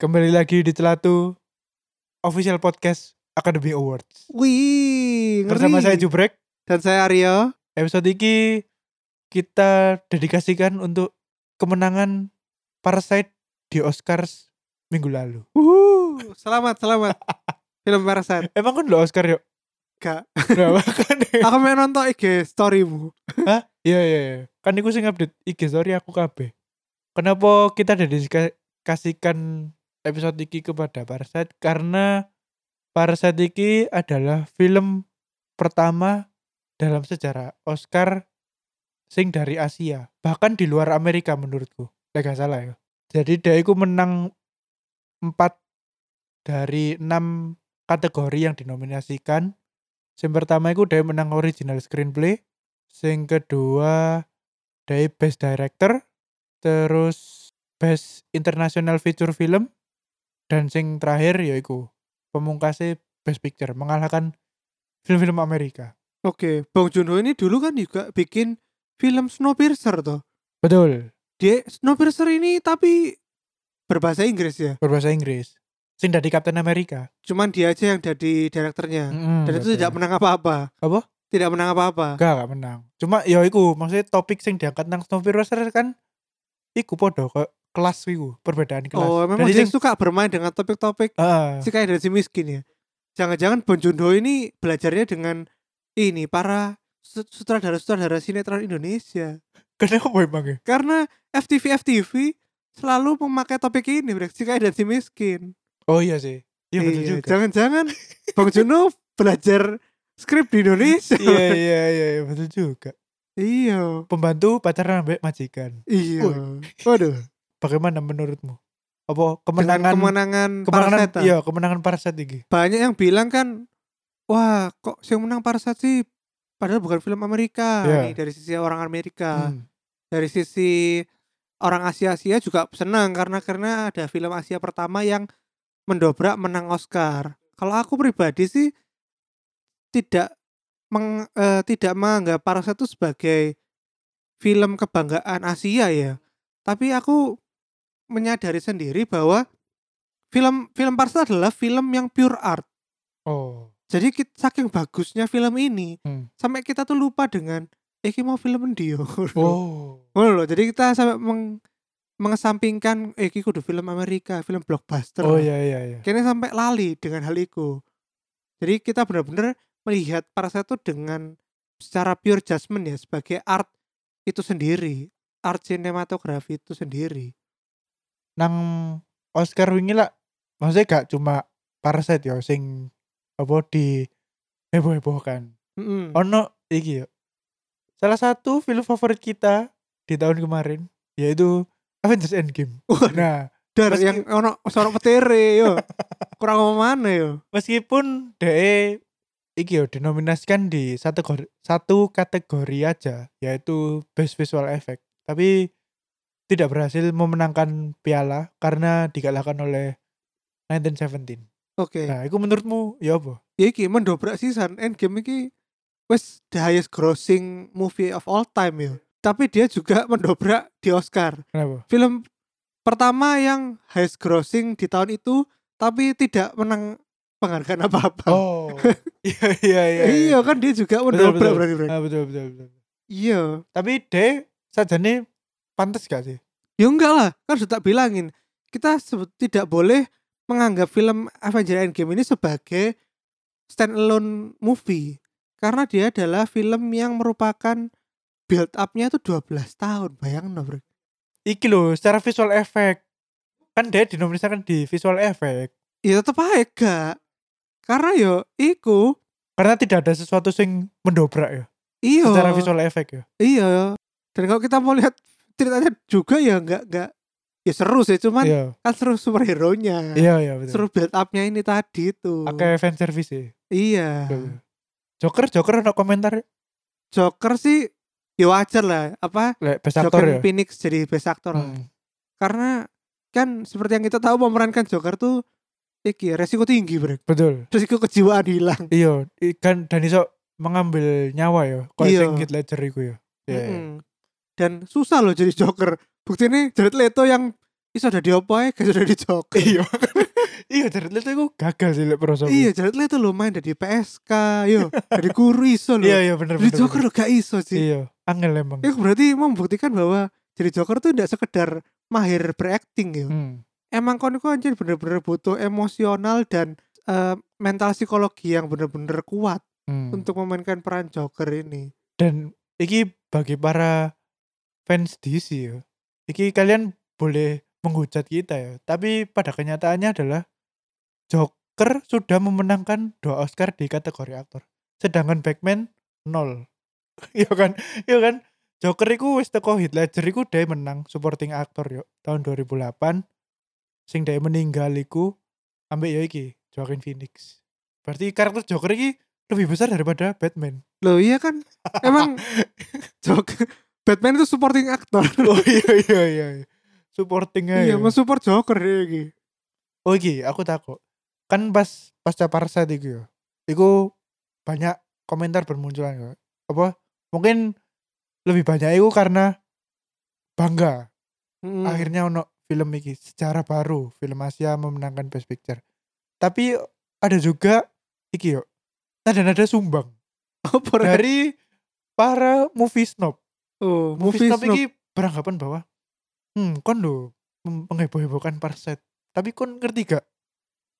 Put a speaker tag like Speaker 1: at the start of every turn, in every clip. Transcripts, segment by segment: Speaker 1: Kembali lagi di Celatu Official Podcast Academy Awards.
Speaker 2: Wih, ngeri.
Speaker 1: Bersama saya Jubrek.
Speaker 2: Dan saya Aryo.
Speaker 1: Episode ini kita dedikasikan untuk kemenangan Parasite di Oscars minggu lalu.
Speaker 2: Wuhu, selamat, selamat. Film Parasite.
Speaker 1: Emang kan lo Oscar yuk?
Speaker 2: Gak.
Speaker 1: Nah, kan
Speaker 2: Aku main nonton IG storymu.
Speaker 1: Hah? Iya iya iya. Kan iku sing update IG story aku kabeh. Kenapa kita dedikasikan episode ini kepada Parasite? Karena Parasite ini adalah film pertama dalam sejarah Oscar sing dari Asia, bahkan di luar Amerika menurutku. Lah gak salah ya. Jadi dia iku menang 4 dari 6 kategori yang dinominasikan. Yang pertama itu dia menang original screenplay, sing kedua dari best director terus best international feature film dan sing terakhir yaiku pemungkasnya best picture mengalahkan film-film Amerika
Speaker 2: Oke, Bong Joon Ho ini dulu kan juga bikin film Snowpiercer tuh.
Speaker 1: betul
Speaker 2: Dia Snowpiercer ini tapi berbahasa Inggris ya.
Speaker 1: berbahasa Inggris sing dari Captain America
Speaker 2: Cuman dia aja yang jadi direkturnya.
Speaker 1: Mm,
Speaker 2: Dan itu
Speaker 1: betul.
Speaker 2: tidak menang apa-apa.
Speaker 1: Apa?
Speaker 2: Tidak menang apa-apa.
Speaker 1: Enggak, enggak menang. Cuma ya iku, maksudnya topik sing diangkat nang Snowpiercer kan iku podo ke kelas iku, perbedaan kelas.
Speaker 2: Oh, memang
Speaker 1: Jadi
Speaker 2: dia
Speaker 1: sing
Speaker 2: suka bermain dengan topik-topik
Speaker 1: Heeh.
Speaker 2: si kaya dan si miskin ya. Jangan-jangan Bong Joon Ho ini belajarnya dengan ini para sut- sutradara-sutradara sinetron Indonesia.
Speaker 1: kenapa emang ya?
Speaker 2: Karena FTV FTV selalu memakai topik ini, Brek. Si kaya dan si miskin.
Speaker 1: Oh iya sih. Iya betul
Speaker 2: Iya,
Speaker 1: juga.
Speaker 2: Jangan-jangan Bang Juno belajar skrip di Indonesia.
Speaker 1: Iya iya iya iya, betul juga.
Speaker 2: iya.
Speaker 1: Pembantu pacaran ambek majikan.
Speaker 2: Iya.
Speaker 1: Woi.
Speaker 2: Waduh.
Speaker 1: Bagaimana menurutmu? Apa
Speaker 2: Dengan
Speaker 1: kemenangan
Speaker 2: kemenangan,
Speaker 1: kemenangan
Speaker 2: Parasite, ah.
Speaker 1: iya kemenangan Parasite iki?
Speaker 2: Banyak yang bilang kan, wah kok yang menang Parasite sih padahal bukan film Amerika
Speaker 1: Iya.
Speaker 2: nih dari sisi orang Amerika.
Speaker 1: Hmm.
Speaker 2: Dari sisi orang Asia-Asia juga senang karena karena ada film Asia pertama yang mendobrak menang Oscar. Kalau aku pribadi sih tidak meng, eh, tidak menganggap Parasite itu sebagai film kebanggaan Asia ya. Tapi aku menyadari sendiri bahwa film film Parasite adalah film yang pure art.
Speaker 1: Oh.
Speaker 2: Jadi kit- saking bagusnya film ini
Speaker 1: Hmm.
Speaker 2: sampai kita tuh lupa dengan eh ini mau film dia.
Speaker 1: Oh.
Speaker 2: Ngono loh, jadi kita sampai meng- mengesampingkan eh iki kudu film Amerika, film blockbuster.
Speaker 1: Oh iya iya iya.
Speaker 2: Kayaknya sampai lali dengan hal itu. Jadi kita benar-benar melihat Parasite itu dengan secara pure judgment ya sebagai art itu sendiri, art sinematografi itu sendiri.
Speaker 1: Nang Oscar wingi lah maksudnya gak cuma Parasite ya sing apa di heboh-hebohkan.
Speaker 2: Mm-mm.
Speaker 1: Ono iki ya. Salah satu film favorit kita di tahun kemarin yaitu Avengers Endgame.
Speaker 2: Wah,
Speaker 1: Nah,
Speaker 2: dar
Speaker 1: meski-
Speaker 2: yang ono sorok petere yo. Kurang apa mana yo.
Speaker 1: meskipun DE iki yo dinominasikan di satu gor- satu kategori aja yaitu best visual effect tapi tidak berhasil memenangkan piala karena dikalahkan oleh 1917
Speaker 2: Oke.
Speaker 1: nah itu menurutmu ya apa
Speaker 2: Ya iki mendobrak sisan Endgame iki wes the highest grossing movie of all time yo. Tapi dia juga mendobrak di Oscar.
Speaker 1: kenapa
Speaker 2: film pertama yang highest grossing di tahun itu tapi tidak menang penghargaan apa-apa.
Speaker 1: oh iya iya iya
Speaker 2: iya kan dia juga mendobrak
Speaker 1: betul.
Speaker 2: berarti. Bro.
Speaker 1: Ah, betul, betul betul
Speaker 2: Iya.
Speaker 1: tapi DE sajane pantas gak sih
Speaker 2: Ya enggak lah, kan sudah tak bilangin. Kita sebut- tidak boleh menganggap film Avengers Endgame ini sebagai standalone movie karena dia adalah film yang merupakan build up-nya itu 12 tahun, bayangin no, Bro.
Speaker 1: iki loh secara visual effect kan DE dinominasikan di visual effect
Speaker 2: Ya tetap aja gak. Karena yo iku
Speaker 1: karena tidak ada sesuatu sing mendobrak ya
Speaker 2: iya
Speaker 1: secara visual effect ya
Speaker 2: Iya. Dan kalau kita mau lihat ceritanya juga ya nggak nggak ya seru sih cuman
Speaker 1: iya
Speaker 2: kan seru superhero nya
Speaker 1: iya iya betul
Speaker 2: seru build up-nya ini tadi tuh
Speaker 1: pakai fan service ya
Speaker 2: iya
Speaker 1: Betul. Joker Joker ada komentar
Speaker 2: Joker sih ya wajar lah apa
Speaker 1: lek best actor ya
Speaker 2: Joker Phoenix jadi best actor lah.
Speaker 1: Hmm.
Speaker 2: karena kan seperti yang kita tahu memerankan Joker tuh iki resiko tinggi brek
Speaker 1: betul
Speaker 2: resiko kejiwaan hilang
Speaker 1: iya i- kan dan iso mengambil nyawa ya kok
Speaker 2: Iya.
Speaker 1: sing Heath Ledger iku ya Iya.
Speaker 2: Mm-mm. dan susah loh jadi Joker bukti ini Jared Leto yang iso dadi opo ae gak iso dadi Joker.
Speaker 1: iya iya Jared Leto itu gagal sih lek prosoku
Speaker 2: Iya, Jared Leto lho main dari PSK, yo, dari guru iso
Speaker 1: iya
Speaker 2: lho.
Speaker 1: iya bener bener,
Speaker 2: Jadi Joker
Speaker 1: bener.
Speaker 2: lho gak iso sih.
Speaker 1: iya angel emang
Speaker 2: Itu berarti membuktikan bahwa jadi Joker tuh tidak sekedar mahir berakting ya.
Speaker 1: Hmm.
Speaker 2: Emang kon iku anjir bener-bener butuh emosional dan eh, mental psikologi yang bener-bener kuat
Speaker 1: Hmm.
Speaker 2: untuk memainkan peran Joker ini.
Speaker 1: dan iki bagi para fans DC ya iki kalian boleh menghujat kita ya tapi pada kenyataannya adalah Joker sudah memenangkan dua Oscar di kategori aktor sedangkan Batman nol ya kan ya kan Joker iku wis teko Heath Ledger iku dia menang supporting actor yo tahun 2008 sing dia meninggal iku ambek yo iki Joaquin Phoenix berarti karakter Joker iki lebih besar daripada Batman
Speaker 2: Loh iya kan? Emang Joker Batman itu supporting actor.
Speaker 1: Oh iya iya iya. iya. Supportingnya. ya.
Speaker 2: iya, mas support Joker dia iki.
Speaker 1: Oh iki aku takut. Kan pas pasca parsa iku ya. Iku banyak komentar bermunculan ya. Apa mungkin lebih banyak iku karena bangga
Speaker 2: Mm.
Speaker 1: akhirnya ono film iki secara baru film Asia memenangkan Best Picture. Tapi ada juga iki yo. Nada-nada sumbang
Speaker 2: Apa, Ren?
Speaker 1: dari para movie snob.
Speaker 2: oh,
Speaker 1: movie snob
Speaker 2: snob.
Speaker 1: iki beranggapan bahwa hmm kon lho mem- mengheboh-hebohkan parset tapi kon ngerti gak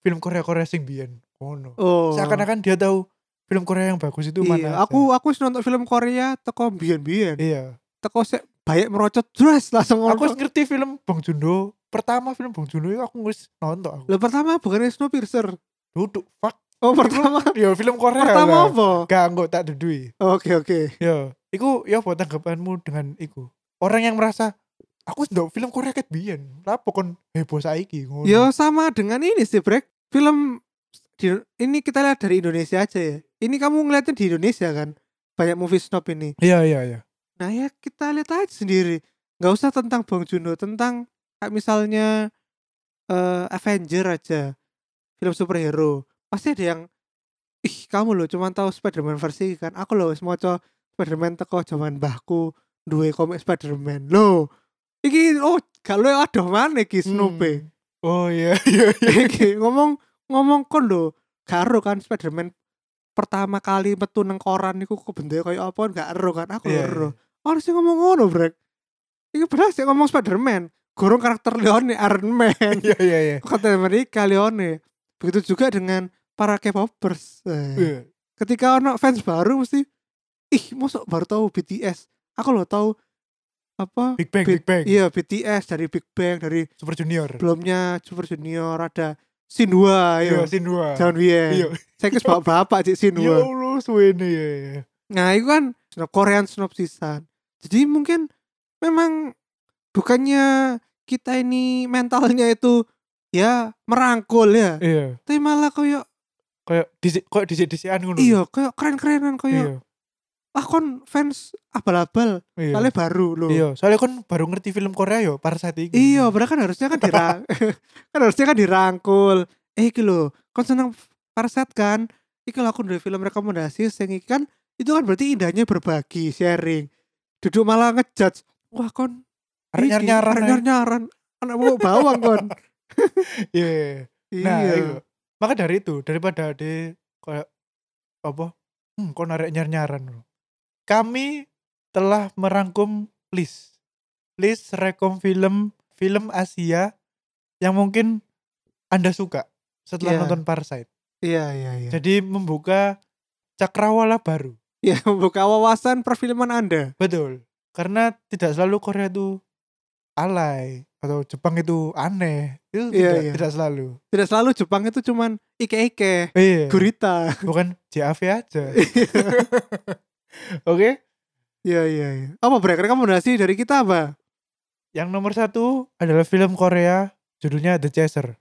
Speaker 1: film Korea Korea sing biyen ngono
Speaker 2: Oh.
Speaker 1: seakan-akan dia tahu film Korea yang bagus itu
Speaker 2: Iya,
Speaker 1: mana aja.
Speaker 2: aku aku wis nonton film Korea teko biyen-biyen.
Speaker 1: iya
Speaker 2: Teko sik banyak merocot dress langsung
Speaker 1: aku
Speaker 2: nonton.
Speaker 1: wis ngerti film Bong Joon Ho pertama film Bong Joon Ho itu aku wis nonton aku
Speaker 2: Lah pertama bukan Snowpiercer.
Speaker 1: duduk fuck
Speaker 2: Oh, pertama
Speaker 1: ya film Korea
Speaker 2: pertama
Speaker 1: lah.
Speaker 2: apa?
Speaker 1: gak enggak tak dudui
Speaker 2: Oke, oke.
Speaker 1: ya iku ya buat tanggapanmu dengan iku orang yang merasa aku wis ndok film Korea ket biyen lapo kon heboh saiki ngono
Speaker 2: Yo sama dengan ini sih, Brek. Film di- ini kita lihat dari Indonesia aja ya. Ini kamu ngeliatnya di Indonesia kan. Banyak movie snob ini.
Speaker 1: iya iya iya
Speaker 2: Nah ya kita lihat aja sendiri. Nggak usah tentang Bong Joon-ho, tentang kayak misalnya eh, Avenger aja. Film superhero. Pasti ada yang ih kamu loh cuman tahu Spider-Man versi kan. Aku loh wis maca Spider-Man teko zaman mbahku duwe komik Spider-Man. Loh, iki oh gak lu aduh mana iki snobe.
Speaker 1: Hmm. Oh iya iya iya.
Speaker 2: Iki, ngomong ngomong kon lho gak ero kan Spiderman pertama kali metu nang koran niku kebentuke koyo apa gak ero kan aku
Speaker 1: Iya,
Speaker 2: yeah, ero ono sing ngomong ngono brek iki beras sih ngomong Spiderman gorong karakter Leone Iron Man
Speaker 1: Iya iya iya.
Speaker 2: Captain America Leone begitu juga dengan para K-popers
Speaker 1: Iya.
Speaker 2: Eh, ketika ono fans baru mesti ih mosok baru tahu BTS aku lo tahu apa
Speaker 1: Big Bang Big Bang
Speaker 2: iya BTS dari Big Bang dari
Speaker 1: Super Junior.
Speaker 2: sebelumnya Super Junior ada Sinwa
Speaker 1: Iya
Speaker 2: yo.
Speaker 1: sin dua.
Speaker 2: Jangan
Speaker 1: Iya.
Speaker 2: biyen. Saya kis bapak-bapak cik
Speaker 1: Ya
Speaker 2: Sinwa.
Speaker 1: Allah suwene ya. ya.
Speaker 2: Nah, itu kan snob Korean snob sisan. Jadi mungkin memang bukannya kita ini mentalnya itu ya merangkul ya.
Speaker 1: Iya.
Speaker 2: Tapi malah koyo
Speaker 1: Kayak disik kayak disik-disikan ngono.
Speaker 2: iya koyo keren-kerenan koyo
Speaker 1: Hmm. Iya.
Speaker 2: ah kon fans abal-abal
Speaker 1: Iya.
Speaker 2: kali baru loh.
Speaker 1: Iya, soalnya kan baru ngerti film Korea yo Parasite iki.
Speaker 2: Iya, padahal kan harusnya kan dirang kan harusnya kan dirangkul. Eh iki lho, kon seneng Parasite kan? Iki lho aku dari film rekomendasi sing iki kan itu kan berarti indahnya berbagi, sharing. Duduk malah ngejudge. Wah, kon
Speaker 1: Arek
Speaker 2: iki,
Speaker 1: nyar-nyaran,
Speaker 2: arek
Speaker 1: ae.
Speaker 2: nyar-nyaran. Anak mau bawang kon.
Speaker 1: Iya. iya. Nah, iya.
Speaker 2: Iya.
Speaker 1: Maka dari itu daripada ade kayak apa? Hmm, kok narik nyar-nyaran loh. Kami telah merangkum list. List rekom film film Asia yang mungkin Anda suka setelah
Speaker 2: Iya.
Speaker 1: nonton Parasite.
Speaker 2: Iya, iya, iya.
Speaker 1: Jadi membuka cakrawala baru.
Speaker 2: Ya, membuka wawasan perfilman Anda.
Speaker 1: Betul. Karena tidak selalu Korea itu alay atau Jepang itu aneh. Itu
Speaker 2: Iya,
Speaker 1: tidak,
Speaker 2: iya.
Speaker 1: tidak selalu.
Speaker 2: Tidak selalu Jepang itu cuman ike-ike,
Speaker 1: Iya.
Speaker 2: gurita.
Speaker 1: Bukan JAV aja. Oke.
Speaker 2: Iya, iya, iya. Apa break rekomendasi dari kita apa?
Speaker 1: Yang nomor satu adalah film Korea, judulnya The Chaser.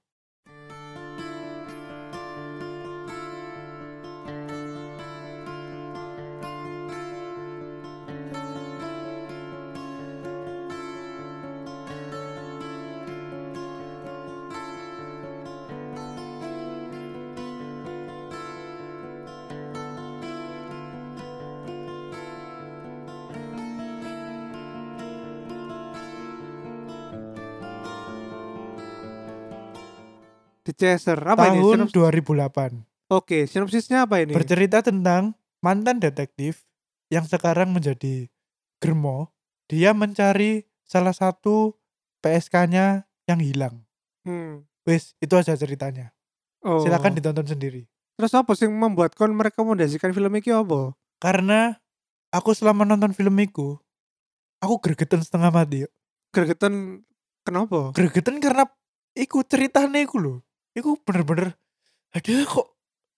Speaker 2: The Chaser. Apa ini?
Speaker 1: tahun
Speaker 2: Sinops-
Speaker 1: 2008.
Speaker 2: Oke, sinopsisnya apa ini?
Speaker 1: Bercerita tentang mantan detektif yang sekarang menjadi germo. Dia mencari salah satu PSK-nya yang hilang.
Speaker 2: Hmm.
Speaker 1: Wis, itu aja ceritanya.
Speaker 2: Oh.
Speaker 1: Silakan ditonton sendiri.
Speaker 2: Terus apa sih yang membuat kon merekomendasikan film iki apa?
Speaker 1: Karena aku selama nonton film itu, aku gregetan setengah mati.
Speaker 2: Gergeten kenapa?
Speaker 1: Gregetan karena iku ceritanya iku loh. Iku bener-bener, aduh kok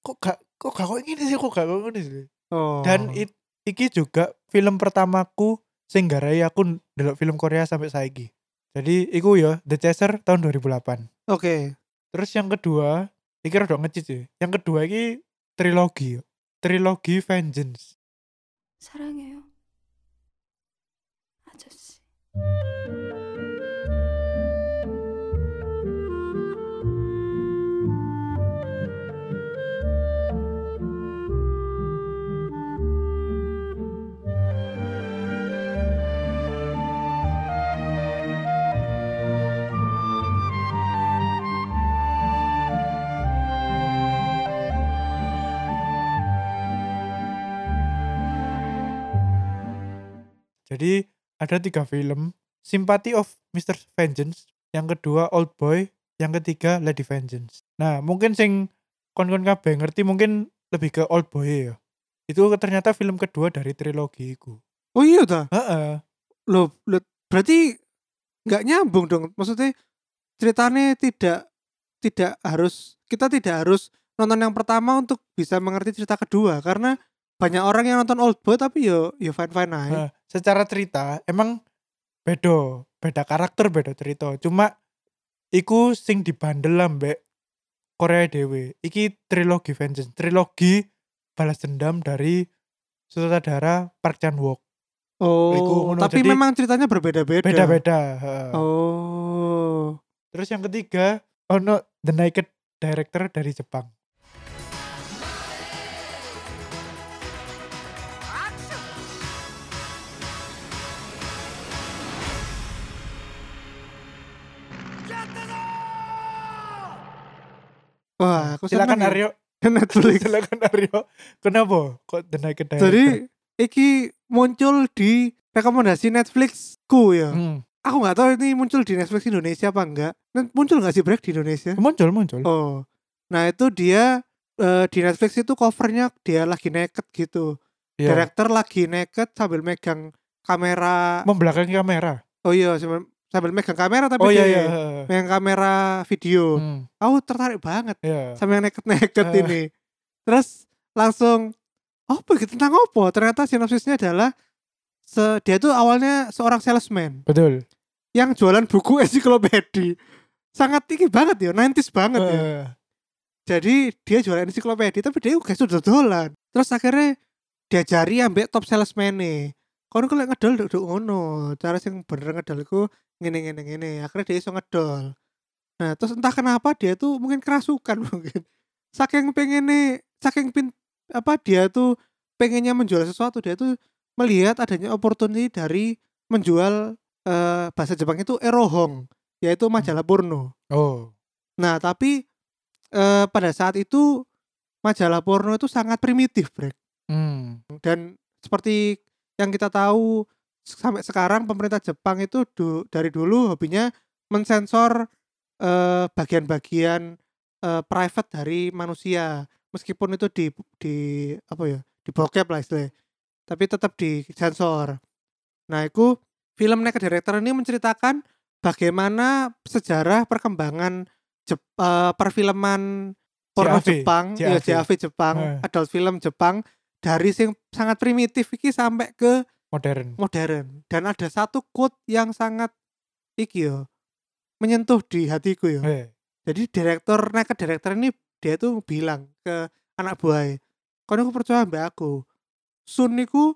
Speaker 1: kok gak kok gak kok ini sih kok gak kok ini sih.
Speaker 2: Oh.
Speaker 1: Dan it- iki juga film pertamaku sing garai aku ndelok film Korea sampai saiki. Jadi iku ya The Chaser tahun 2008.
Speaker 2: Oke.
Speaker 1: Terus yang kedua, iki rada ngecit sih. Yang kedua iki trilogi. ya. Trilogi Vengeance.
Speaker 3: 사랑해요. 아저씨.
Speaker 1: Jadi ada tiga film, Sympathy of Mr. Vengeance, yang kedua Old Boy, yang ketiga Lady Vengeance. Nah, mungkin sing kon-kon kabeh ngerti mungkin lebih ke Old Boy ya. Itu ternyata film kedua dari trilogi iku.
Speaker 2: Oh iya ta.
Speaker 1: Heeh.
Speaker 2: Loh, loh, berarti nggak nyambung dong. Maksudnya ceritanya tidak tidak harus kita tidak harus nonton yang pertama untuk bisa mengerti cerita kedua karena banyak orang yang nonton old boy tapi yo yo fine fine aja.
Speaker 1: Nah, secara cerita emang bedo, beda karakter, beda cerita. Cuma iku sing dibandel ambek Korea dewe. Iki trilogi Vengeance, trilogi balas dendam dari sutradara Park Chan Wook. iku
Speaker 2: Oh,
Speaker 1: ngono.
Speaker 2: tapi
Speaker 1: Jadi-
Speaker 2: memang ceritanya berbeda-beda.
Speaker 1: Beda-beda.
Speaker 2: Iya.
Speaker 1: heeh.
Speaker 2: Oh.
Speaker 1: Terus yang ketiga, ono The Naked Director dari Jepang.
Speaker 2: Wah, aku
Speaker 1: Silakan
Speaker 2: seneng ya.
Speaker 1: Aryo,
Speaker 2: Netflix.
Speaker 1: silakan Aryo. Kenapa kok The Naked Director?
Speaker 2: Eh, Jadi iki muncul di rekomendasi Netflix ku ya.
Speaker 1: Hmm.
Speaker 2: Aku nggak tahu ini muncul di Netflix Indonesia apa enggak. Nen- Muncul nggak sih break di Indonesia?
Speaker 1: Eh, muncul muncul.
Speaker 2: Oh. Nah, itu dia eh, di Netflix itu covernya dia lagi naked gitu.
Speaker 1: Iya.
Speaker 2: Director lagi naked sambil megang kamera.
Speaker 1: Membelakangi kamera.
Speaker 2: Oh iya, sambil, sambil megang kamera tapi Oh.
Speaker 1: Oh iya
Speaker 2: dia
Speaker 1: iya.
Speaker 2: megang kamera video.
Speaker 1: Hmm,
Speaker 2: Aku tertarik banget
Speaker 1: iya.
Speaker 2: sama yang naked-naked
Speaker 1: Eh.
Speaker 2: ini. Terus langsung apa gitu tentang apa? Ternyata sinopsisnya adalah se- dia tuh awalnya seorang salesman
Speaker 1: Betul.
Speaker 2: yang jualan buku ensiklopedia. Sangat tinggi banget ya, 90s banget ya.
Speaker 1: Eh,
Speaker 2: Jadi dia jualan ensiklopedia tapi dia juga sudah dolan. Terus akhirnya diajari ambek top salesman nih. Kono kalau ngedol duduk ngono, cara sing bener ngedol iku ngene ngene ngene. Akhirnya dia iso ngedol. Nah, terus entah kenapa dia tuh mungkin kerasukan mungkin. Saking pengennya, saking pin apa dia tuh pengennya menjual sesuatu, dia tuh melihat adanya opportunity dari menjual eh, bahasa Jepang itu erohong, yaitu majalah porno.
Speaker 1: Oh.
Speaker 2: Nah, tapi eh, pada saat itu majalah porno itu sangat primitif, Brek.
Speaker 1: Hmm.
Speaker 2: Dan seperti yang kita tahu sampai sekarang pemerintah Jepang itu du- dari dulu hobinya mensensor eh, bagian-bagian eh, private dari manusia. Meskipun itu di di apa ya? dibokep lah istilahnya. Tapi tetap disensor. Nah, itu film Naked Director ini menceritakan bagaimana sejarah perkembangan Jep- eh, perfilman porno
Speaker 1: JAV.
Speaker 2: Jepang, ya
Speaker 1: JAV.
Speaker 2: JAV Jepang,
Speaker 1: Eh.
Speaker 2: adult film Jepang dari sing sangat primitif iki sampai ke
Speaker 1: Modern.
Speaker 2: Hmm. modern. Dan ada satu quote yang sangat iki yo menyentuh di hatiku yo.
Speaker 1: Eh,
Speaker 2: Jadi direktur naked director ini dia tuh bilang ke anak buah, "Kono aku percaya mbak aku. Sun niku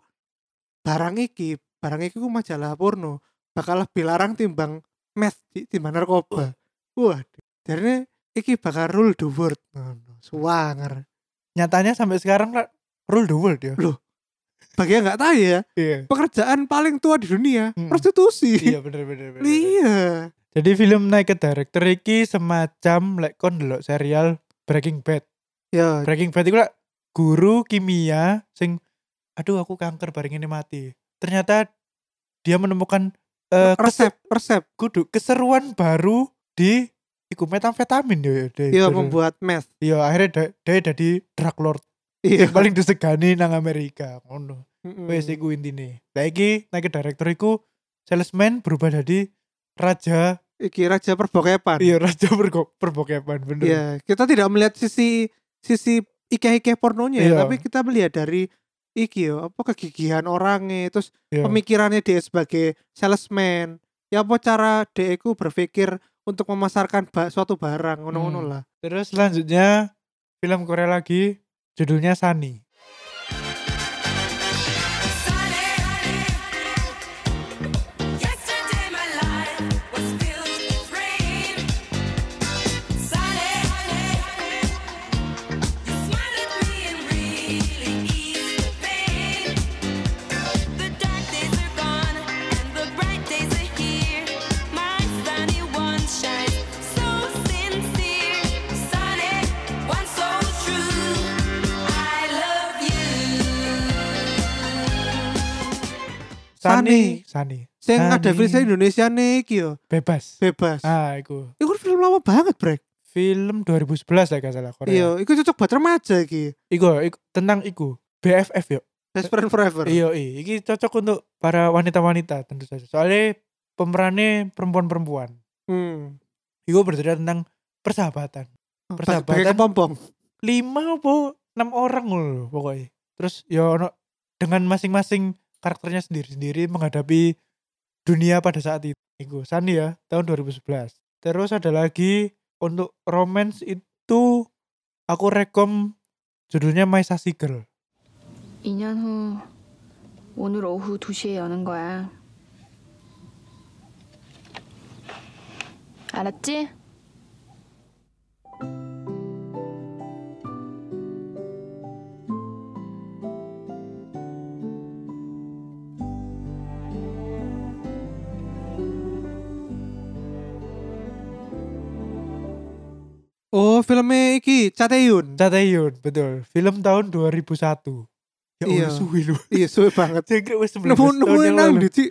Speaker 2: barang iki, barang iki ku majalah porno bakal lebih larang timbang meth di- timbang narkoba." Wah, jadi iki bakal rule the world. Ngono, Suwanger.
Speaker 1: Nyatanya sampai sekarang lah, rule the world ya.
Speaker 2: Bagi yang nggak tahu ya,
Speaker 1: Iya.
Speaker 2: pekerjaan paling tua di dunia
Speaker 1: Mm.
Speaker 2: prostitusi.
Speaker 1: Iya bener bener. bener, bener.
Speaker 2: Iya.
Speaker 1: Jadi film naik ke director iki semacam lek kon ndelok serial Breaking Bad.
Speaker 2: Ya,
Speaker 1: Breaking Bad itu lah guru kimia sing aduh aku kanker bareng ini mati. Ternyata dia menemukan eh,
Speaker 2: resep, resep.
Speaker 1: kudu keseruan baru di iku metamfetamin yo yo. deh.
Speaker 2: Ya
Speaker 1: Terus-
Speaker 2: membuat meth.
Speaker 1: Yo akhirnya dia- dia jadi drug lord
Speaker 2: Iya.
Speaker 1: yang paling disegani nang Amerika. Ngono.
Speaker 2: Mm-mm.
Speaker 1: Wes iku intine. Lah iki nek direktur iku salesman berubah jadi raja,
Speaker 2: Iki raja perbokepan.
Speaker 1: iya raja pergo- perbokepan bener.
Speaker 2: Iya, kita tidak melihat sisi sisi ikeh-ikeh pornonya ya,
Speaker 1: Iya.
Speaker 2: tapi kita melihat dari iki yo, apa kegigihan orangnya, terus
Speaker 1: Iya.
Speaker 2: pemikirannya dia sebagai salesman. Ya apa cara dia itu berpikir untuk memasarkan ba- suatu barang ngono-ngono
Speaker 1: Hmm.
Speaker 2: lah.
Speaker 1: Terus selanjutnya film Korea lagi judulnya Sunny. Sunny, Sunny.
Speaker 2: Yang
Speaker 1: Sunny.
Speaker 2: ada versi Indonesia nih iki yo,
Speaker 1: Bebas.
Speaker 2: bebas.
Speaker 1: Ah, iku.
Speaker 2: Iku film lama banget, Brek.
Speaker 1: Film 2011 lah gak salah Korea.
Speaker 2: Iya, iku cocok buat remaja iki.
Speaker 1: Iku, iku- tentang iku BFF yo.
Speaker 2: Best friend forever.
Speaker 1: Iya, iya. Iki cocok untuk para wanita-wanita tentu saja. Soalnya pemerannya perempuan-perempuan.
Speaker 2: Hmm.
Speaker 1: Iku bercerita tentang persahabatan.
Speaker 2: Oh,
Speaker 1: Persahabatan.
Speaker 2: Pakai kepompong.
Speaker 1: lima apa enam orang loh pokoknya terus ya ono dengan masing-masing karakternya sendiri-sendiri menghadapi dunia pada saat itu Iku Sani ya tahun 2011 terus ada lagi untuk romance itu aku rekom judulnya My Sassy Girl
Speaker 4: 2년 후 오늘 오후 2시에 여는 거야. 알았지?
Speaker 2: Oh, filmnya iki Chateun.
Speaker 1: Catayun betul film tahun 2001 ya
Speaker 2: Iya.
Speaker 1: Allah suwi lu
Speaker 2: Iya, suwe banget.
Speaker 1: Saya kira wes 19
Speaker 2: Nemu nemu
Speaker 1: tahun yang
Speaker 2: nang
Speaker 1: lalu.
Speaker 2: ndi, Ci?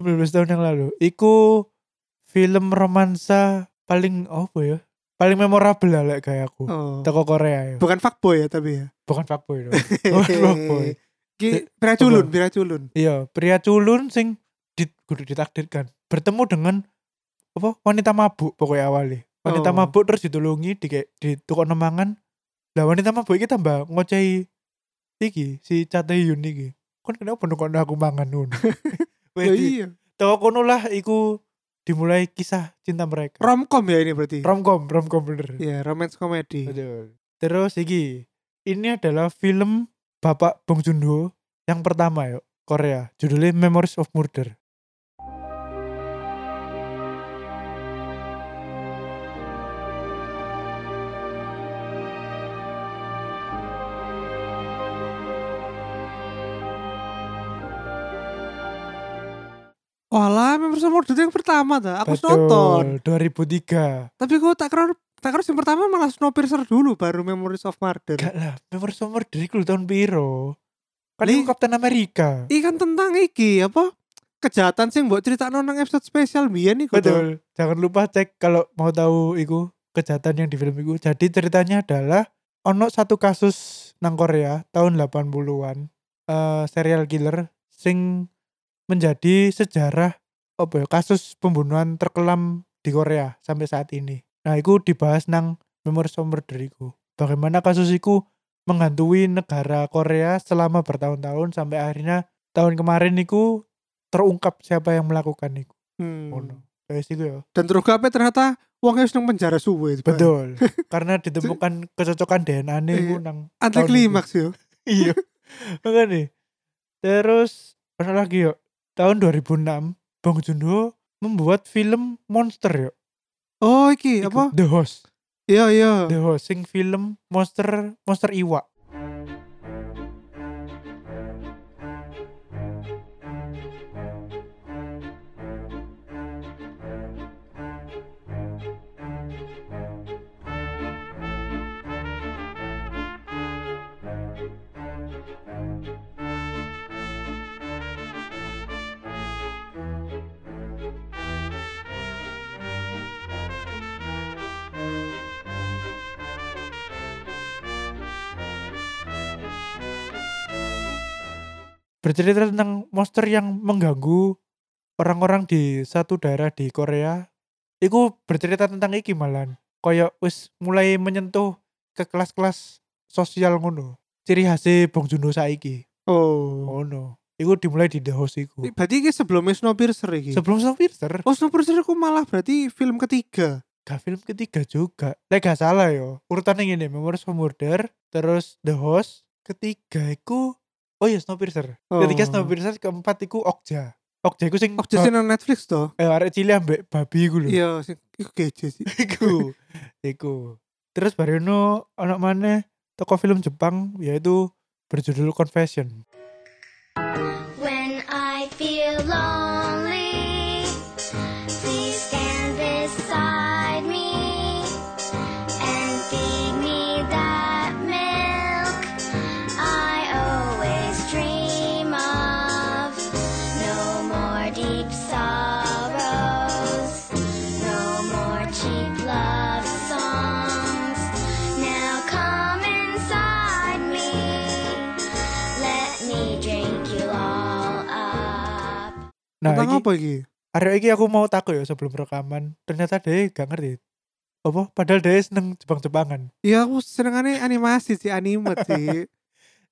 Speaker 1: 19 tahun yang lalu. Iku film romansa paling apa ya? Paling memorable lah lek kayak aku.
Speaker 2: Oh.
Speaker 1: Toko Korea ya.
Speaker 2: Bukan fuckboy ya tapi ya.
Speaker 1: Bukan fuckboy dong.
Speaker 2: Oh,
Speaker 1: Bukan fuckboy.
Speaker 2: Ki pria culun, pria culun.
Speaker 1: Iya, pria culun sing di, kudu ditakdirkan bertemu dengan apa wanita mabuk pokoknya awalnya. Wanita
Speaker 2: Oh.
Speaker 1: mabuk terus ditulungi di di tukang nemangan. Lah wanita mabuk iki tambah ngocehi iki si Cateyun iki. Kon kenapa nukon aku mangan nun?
Speaker 2: Ya
Speaker 1: Wedi.
Speaker 2: iya.
Speaker 1: Toko kono lah iku dimulai kisah cinta mereka.
Speaker 2: Romcom ya ini berarti.
Speaker 1: romcom romcom bener
Speaker 2: Iya, romance komedi.
Speaker 1: Betul. terus iki ini adalah film bapak Bong Joon Ho yang pertama yuk Korea judulnya Memories of Murder
Speaker 2: Walah, member semua itu yang pertama ta. Aku nonton.
Speaker 1: Betul, 2003
Speaker 2: Tapi aku tak kira tak kira yang pertama malah Snowpiercer dulu baru Memories of Murder.
Speaker 1: gak lah Memories of Murder itu tahun piro kan
Speaker 2: Li-
Speaker 1: itu Captain America
Speaker 2: Ikan tentang iki apa? Kejahatan sih buat cerita nang episode spesial biyen nih
Speaker 1: betul jangan lupa cek kalau mau tahu iku kejahatan yang di film iku jadi ceritanya adalah ono satu kasus nang Korea tahun 80-an eh, serial killer sing menjadi sejarah apa ya kasus pembunuhan terkelam di Korea sampai saat ini nah itu dibahas nang Memories of Murder iku. bagaimana kasus iku menghantui negara Korea selama bertahun-tahun sampai akhirnya tahun kemarin iku terungkap siapa yang melakukan iku
Speaker 2: Hmm.
Speaker 1: Ngono. Kayak sih gue ya.
Speaker 2: Dan terungkapnya ternyata wongnya harus nang penjara suwe.
Speaker 1: Betul. Karena ditemukan kecocokan DNA nih
Speaker 2: gitu. Iya.
Speaker 1: iku nang
Speaker 2: Anti klimaks yo.
Speaker 1: iya. Makanya. Terus ono lagi yo. Tahun 2006 Bong Joon Ho membuat film monster yo.
Speaker 2: Oh iki
Speaker 1: Iku,
Speaker 2: apa?
Speaker 1: The Host.
Speaker 2: Iya iya.
Speaker 1: The Host sing film monster monster iwak. bercerita tentang monster yang mengganggu orang-orang di satu daerah di Korea. Iku bercerita tentang iki malan. Koyo wis mulai menyentuh ke kelas-kelas sosial ngono. Ciri khasnya Bong Joon-ho saiki.
Speaker 2: Oh.
Speaker 1: Ngono. Iku dimulai di The Host iku.
Speaker 2: Berarti ini sebelumnya Snowpiercer iki.
Speaker 1: Sebelum Snowpiercer,
Speaker 2: oh Snowpiercer ku malah berarti film ketiga.
Speaker 1: gak film ketiga juga. Lek gak salah yo. Urutannya ini Memories of Murder, terus The Host, ketiga iku Oh iya Snowpiercer. Ketiga
Speaker 2: Oh.
Speaker 1: Snowpiercer, keempat iku Okja. Okja iku sing
Speaker 2: Oh jadi nang Netflix toh?
Speaker 1: eh arek cilik ambek babi iku lho.
Speaker 2: Iya, sing iku geje sih.
Speaker 1: iku. iku. Terus baruno anak mana toko film Jepang yaitu berjudul Confession.
Speaker 5: When I feel lonely, please stand beside me and feed me that milk I always dream of. No more deep sorrows, no more cheap love songs. Now come inside me. Let me drink you all up.
Speaker 1: Nah,
Speaker 2: Tentang
Speaker 1: iki,
Speaker 2: apa iki?
Speaker 1: arek iki aku mau takut ya sebelum rekaman. Ternyata deh gak ngerti. Apa? Padahal deh seneng Jepang-Jepangan.
Speaker 2: Iya, aku senengane animasi sih, anime sih.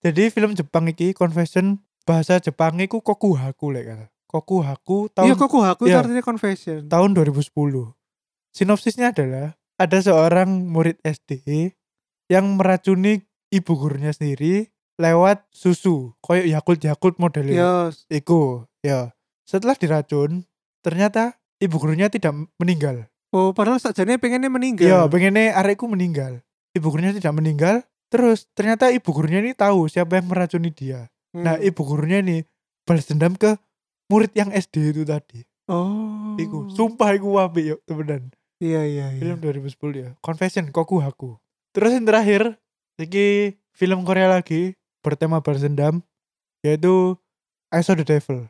Speaker 1: Jadi film Jepang iki Confession bahasa Jepang iku Kokuhaku lek kata. Kokuhaku tahun
Speaker 2: Iya, kok aku itu
Speaker 1: Iya.
Speaker 2: artinya confession.
Speaker 1: tahun 2010. Sinopsisnya adalah ada seorang murid SD yang meracuni ibu gurunya sendiri lewat susu, koyok Yakult-Yakult modelnya.
Speaker 2: Iya,
Speaker 1: Iku, ya. Setelah diracun, ternyata ibu gurunya tidak meninggal.
Speaker 2: Oh, padahal sakjane pengennya meninggal.
Speaker 1: Ya, pengennya arekku meninggal. Ibu gurunya tidak meninggal. Terus ternyata ibu gurunya ini tahu siapa yang meracuni dia.
Speaker 2: Hmm.
Speaker 1: Nah, ibu gurunya ini balas dendam ke murid yang SD itu tadi.
Speaker 2: Oh.
Speaker 1: Iku, sumpah iku wapi yuk temenan.
Speaker 2: Iya, iya, iya.
Speaker 1: Film 2010 ya. Confession Koku Haku. Terus yang terakhir, iki film Korea lagi bertema balas dendam yaitu I Saw the Devil.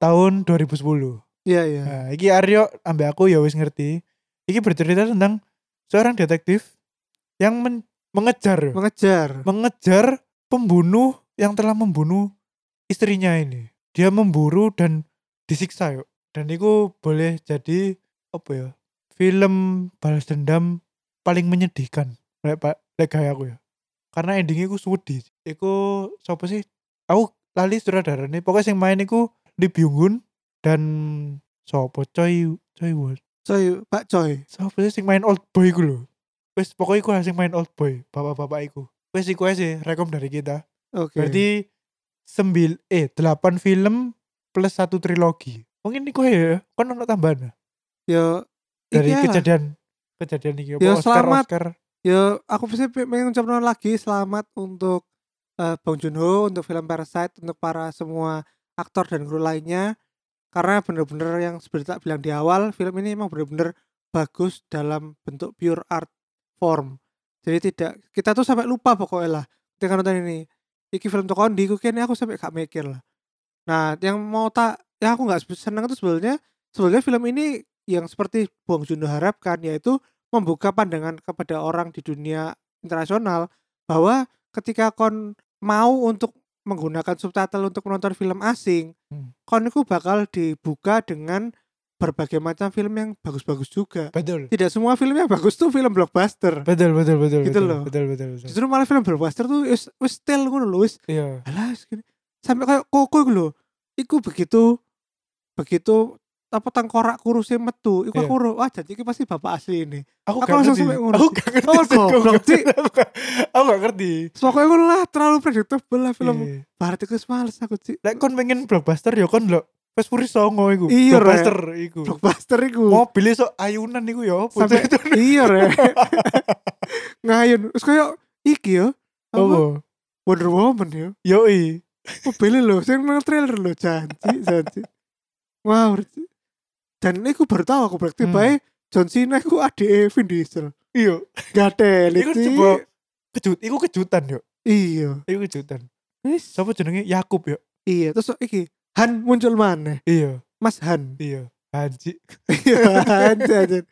Speaker 1: Tahun 2010.
Speaker 2: Iya, iya.
Speaker 1: Nah, iki Aryo ambek aku ya wis ngerti. Iki bercerita tentang seorang detektif yang men- mengejar yo.
Speaker 2: Mengejar.
Speaker 1: mengejar pembunuh yang telah membunuh istrinya ini. Dia memburu dan disiksa yuk. Dan itu boleh jadi apa ya? Film balas dendam paling menyedihkan. Lek pak, lek gaya aku ya. Karena endingnya aku sudi. Iku siapa sih? Aku lali sutradara nih. Pokoknya yang main iku di Byunggun dan siapa coy coy Won.
Speaker 2: Coy, Pak Coy.
Speaker 1: Siapa sih sing main old boy iku lho? Wis pokoknya iku sing main old boy, bapak-bapak iku. Wis iku ae sih rekom dari kita.
Speaker 2: Oke.
Speaker 1: Berarti sembil eh 8 film plus satu trilogi. Mungkin iku ya, kan ono tambahan ya?
Speaker 2: yo
Speaker 1: dari
Speaker 2: iyalah.
Speaker 1: kejadian kejadian iki apa
Speaker 2: Ya,
Speaker 1: Oscar
Speaker 2: Iya. selamat.
Speaker 1: Oscar.
Speaker 2: Yo, aku pasti pe- pengen ngucapkan lagi selamat untuk eh, Bang Junho, untuk film Parasite, untuk para semua aktor dan kru lainnya. Karena bener-bener yang seperti tak bilang di awal, film ini emang bener-bener bagus dalam bentuk pure art form. Jadi tidak, kita tuh sampai lupa pokoknya lah. Ketika nonton ini, iki film Tokondi, aku kayaknya aku sampai gak mikir lah. Nah, yang mau tak, yang aku nggak seneng itu sebenarnya, sebenarnya film ini yang seperti Bang Junho harapkan, yaitu membuka pandangan kepada orang di dunia internasional bahwa ketika kon mau untuk menggunakan subtitle untuk menonton film asing,
Speaker 1: Hmm.
Speaker 2: kon itu bakal dibuka dengan berbagai macam film yang bagus-bagus juga.
Speaker 1: Betul.
Speaker 2: Tidak semua film yang bagus tuh film blockbuster.
Speaker 1: Betul betul betul.
Speaker 2: Gitu
Speaker 1: betul,
Speaker 2: loh.
Speaker 1: Betul betul betul.
Speaker 2: Justru malah film blockbuster tuh wis wis style ngono lho, wis
Speaker 1: Iya.
Speaker 2: alah segini. sampai kayak koko iku lho. Iku begitu begitu apa tengkorak kurusnya metu. Iku
Speaker 1: Iya.
Speaker 2: aku ro, wah jadi iki pasti bapak asli ini.
Speaker 1: Aku,
Speaker 2: Aku
Speaker 1: gak
Speaker 2: langsung
Speaker 1: ngerti.
Speaker 2: sampai ngono.
Speaker 1: Aku gak ngerti. sih,
Speaker 2: Oh,
Speaker 1: aku
Speaker 2: goblok,
Speaker 1: ngerti.
Speaker 2: Cik.
Speaker 1: Aku gak- Aku gak ngerti.
Speaker 2: Pokoknya aku lah terlalu predictable lah film
Speaker 1: Iya.
Speaker 2: Barat itu males aku sih.
Speaker 1: Lek kon pengen blockbuster ya kon lo Fast Furious songo iku.
Speaker 2: Iya, Rek.
Speaker 1: Blockbuster iku.
Speaker 2: blockbuster iku
Speaker 1: Mobil iso Oh, ayunan iku ya apa?
Speaker 2: Hmm. sampai iya re ngayun terus kayak iki yo apa
Speaker 1: Apa?
Speaker 2: Wonder Woman yo
Speaker 1: Yoi.
Speaker 2: mobilnya lho sing nang trailer lho janji janji wow dan iku baru tahu aku berarti
Speaker 1: Hmm.
Speaker 2: bae John Cena iku adike Vin Diesel
Speaker 1: Iya.
Speaker 2: gatel
Speaker 1: Iku
Speaker 2: iki
Speaker 1: coba kejut, iku kejutan yo.
Speaker 2: iya
Speaker 1: Iku kejutan.
Speaker 2: Wis.
Speaker 1: Sapa jenenge Yakub yo?
Speaker 2: iya terus iki Han muncul mana
Speaker 1: Iya,
Speaker 2: Mas Han
Speaker 1: iya. Haji.
Speaker 2: iya Han jajan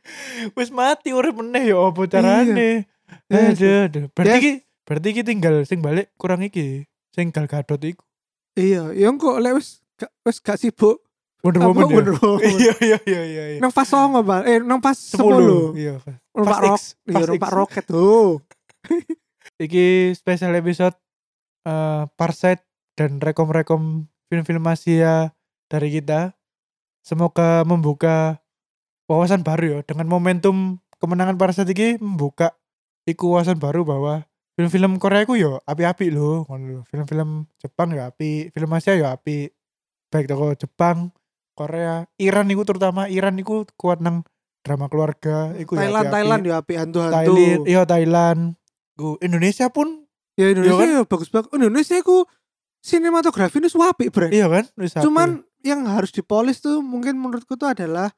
Speaker 1: Wis mati urip meneh yo apa carane?
Speaker 2: Iya,
Speaker 1: Aduh, aduh. Berarti
Speaker 2: Yes.
Speaker 1: ki berarti ki tinggal sing balik kurang iki. Sing Gal Gadot iku.
Speaker 2: iya yang kok lek wis gak- wis gak sibuk
Speaker 1: Wonder
Speaker 2: apa,
Speaker 1: Woman. yo.
Speaker 2: Wonder Woman. ya?
Speaker 1: Iya, iya, iya, iya. iya.
Speaker 2: nang pas songo Bal. eh nang pas
Speaker 1: 10.
Speaker 2: 10
Speaker 1: Iya.
Speaker 2: numpak
Speaker 1: Pas X,
Speaker 2: rok iya
Speaker 1: pas
Speaker 2: numpak
Speaker 1: X.
Speaker 2: roket oh
Speaker 1: Iki special episode eh Parset dan rekom-rekom film-film Asia dari kita. Semoga membuka wawasan baru ya dengan momentum kemenangan Parset iki membuka iku wawasan baru bahwa film-film Korea ku yo api-api loh, ngono lho. Film-film Jepang ya api, film Asia ya api. Baik toko Jepang, Korea, Iran iku terutama Iran iku kuat nang drama keluarga iku ya
Speaker 2: Thailand
Speaker 1: api-api.
Speaker 2: Thailand ya api hantu-hantu
Speaker 1: Thailand, iya Thailand. Gu- Indonesia pun
Speaker 2: ya Indonesia
Speaker 1: Iya
Speaker 2: ya bagus banget Indonesia ku sinematografi ini suapi berarti
Speaker 1: iya kan? wis apik.
Speaker 2: cuman yang harus dipolis tuh mungkin menurutku tuh adalah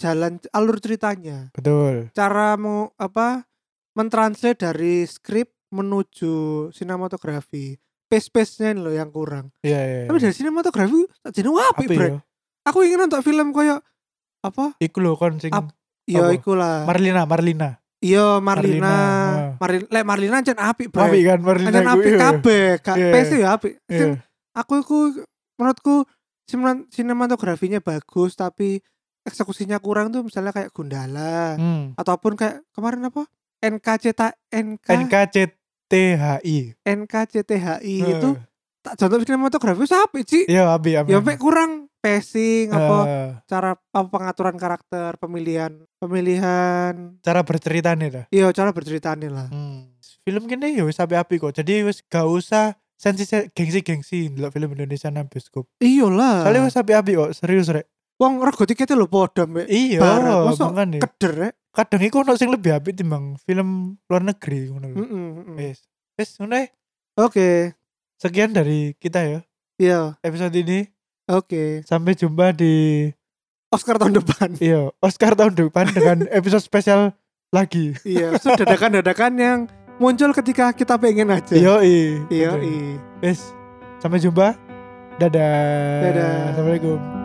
Speaker 2: jalan alur ceritanya
Speaker 1: betul.
Speaker 2: cara mau apa mentranslate dari skrip menuju sinematografi pace-pace-nya ini loh yang kurang
Speaker 1: Iya iya.
Speaker 2: tapi dari sinematografi jadi wapi
Speaker 1: Apik
Speaker 2: bro
Speaker 1: ya.
Speaker 2: aku ingin nonton film kayak apa
Speaker 1: Iku lho kon sing
Speaker 2: Ap- ya
Speaker 1: Apa?
Speaker 2: ikulah
Speaker 1: Marlina, Marlina.
Speaker 2: Iya Marlina,
Speaker 1: Marlina,
Speaker 2: Marlina, lek Marlina ancen apik, Bre.
Speaker 1: Apik kan Marlina.
Speaker 2: Ancen
Speaker 1: iku,
Speaker 2: apik
Speaker 1: iya.
Speaker 2: kabeh, gak
Speaker 1: Iya.
Speaker 2: pes ya apik.
Speaker 1: Iya.
Speaker 2: Sing aku iku menurutku sineman- sinematografinya bagus tapi eksekusinya kurang tuh misalnya kayak Gundala
Speaker 1: Hmm.
Speaker 2: ataupun kayak kemarin apa? NKCT NK,
Speaker 1: NKCTHI.
Speaker 2: NKCTHI
Speaker 1: Eh,
Speaker 2: itu tak contoh sinematografi apik, Ci.
Speaker 1: Iya, apik apik.
Speaker 2: Ya sampai kurang pacing apa
Speaker 1: Eh,
Speaker 2: cara apa pengaturan karakter, pemilihan pemilihan
Speaker 1: cara berceritanya dah.
Speaker 2: Iya, cara berceritanya lah.
Speaker 1: Hmm. Film kene ya wis apik-apik kok. Jadi wis gak usah sensi gengsi-gengsi ndelok film Indonesia nang bioskop.
Speaker 2: Iyalah.
Speaker 1: Soalnya wis apik-apik kok, serius rek.
Speaker 2: Wong rego tiketnya lho padha mbek
Speaker 1: Iya,
Speaker 2: Barat, masa
Speaker 1: makane.
Speaker 2: keder ya. rek.
Speaker 1: kadang iku ono sing lebih apik timbang film luar negeri ngono lho.
Speaker 2: Mm-mm, mm-mm.
Speaker 1: Wis. Wis ngono ae.
Speaker 2: Oke.
Speaker 1: Sekian dari kita ya
Speaker 2: Iya,
Speaker 1: episode ini.
Speaker 2: oke.
Speaker 1: Sampai jumpa di
Speaker 2: Oscar tahun depan.
Speaker 1: iya Oscar tahun depan dengan episode spesial lagi.
Speaker 2: Iya, so dadakan-dadakan yang muncul ketika kita pengen aja.
Speaker 1: Iya, iya.
Speaker 2: Iya,
Speaker 1: Wis. Sampai jumpa. Dadah.
Speaker 2: Dadah.
Speaker 1: Assalamualaikum.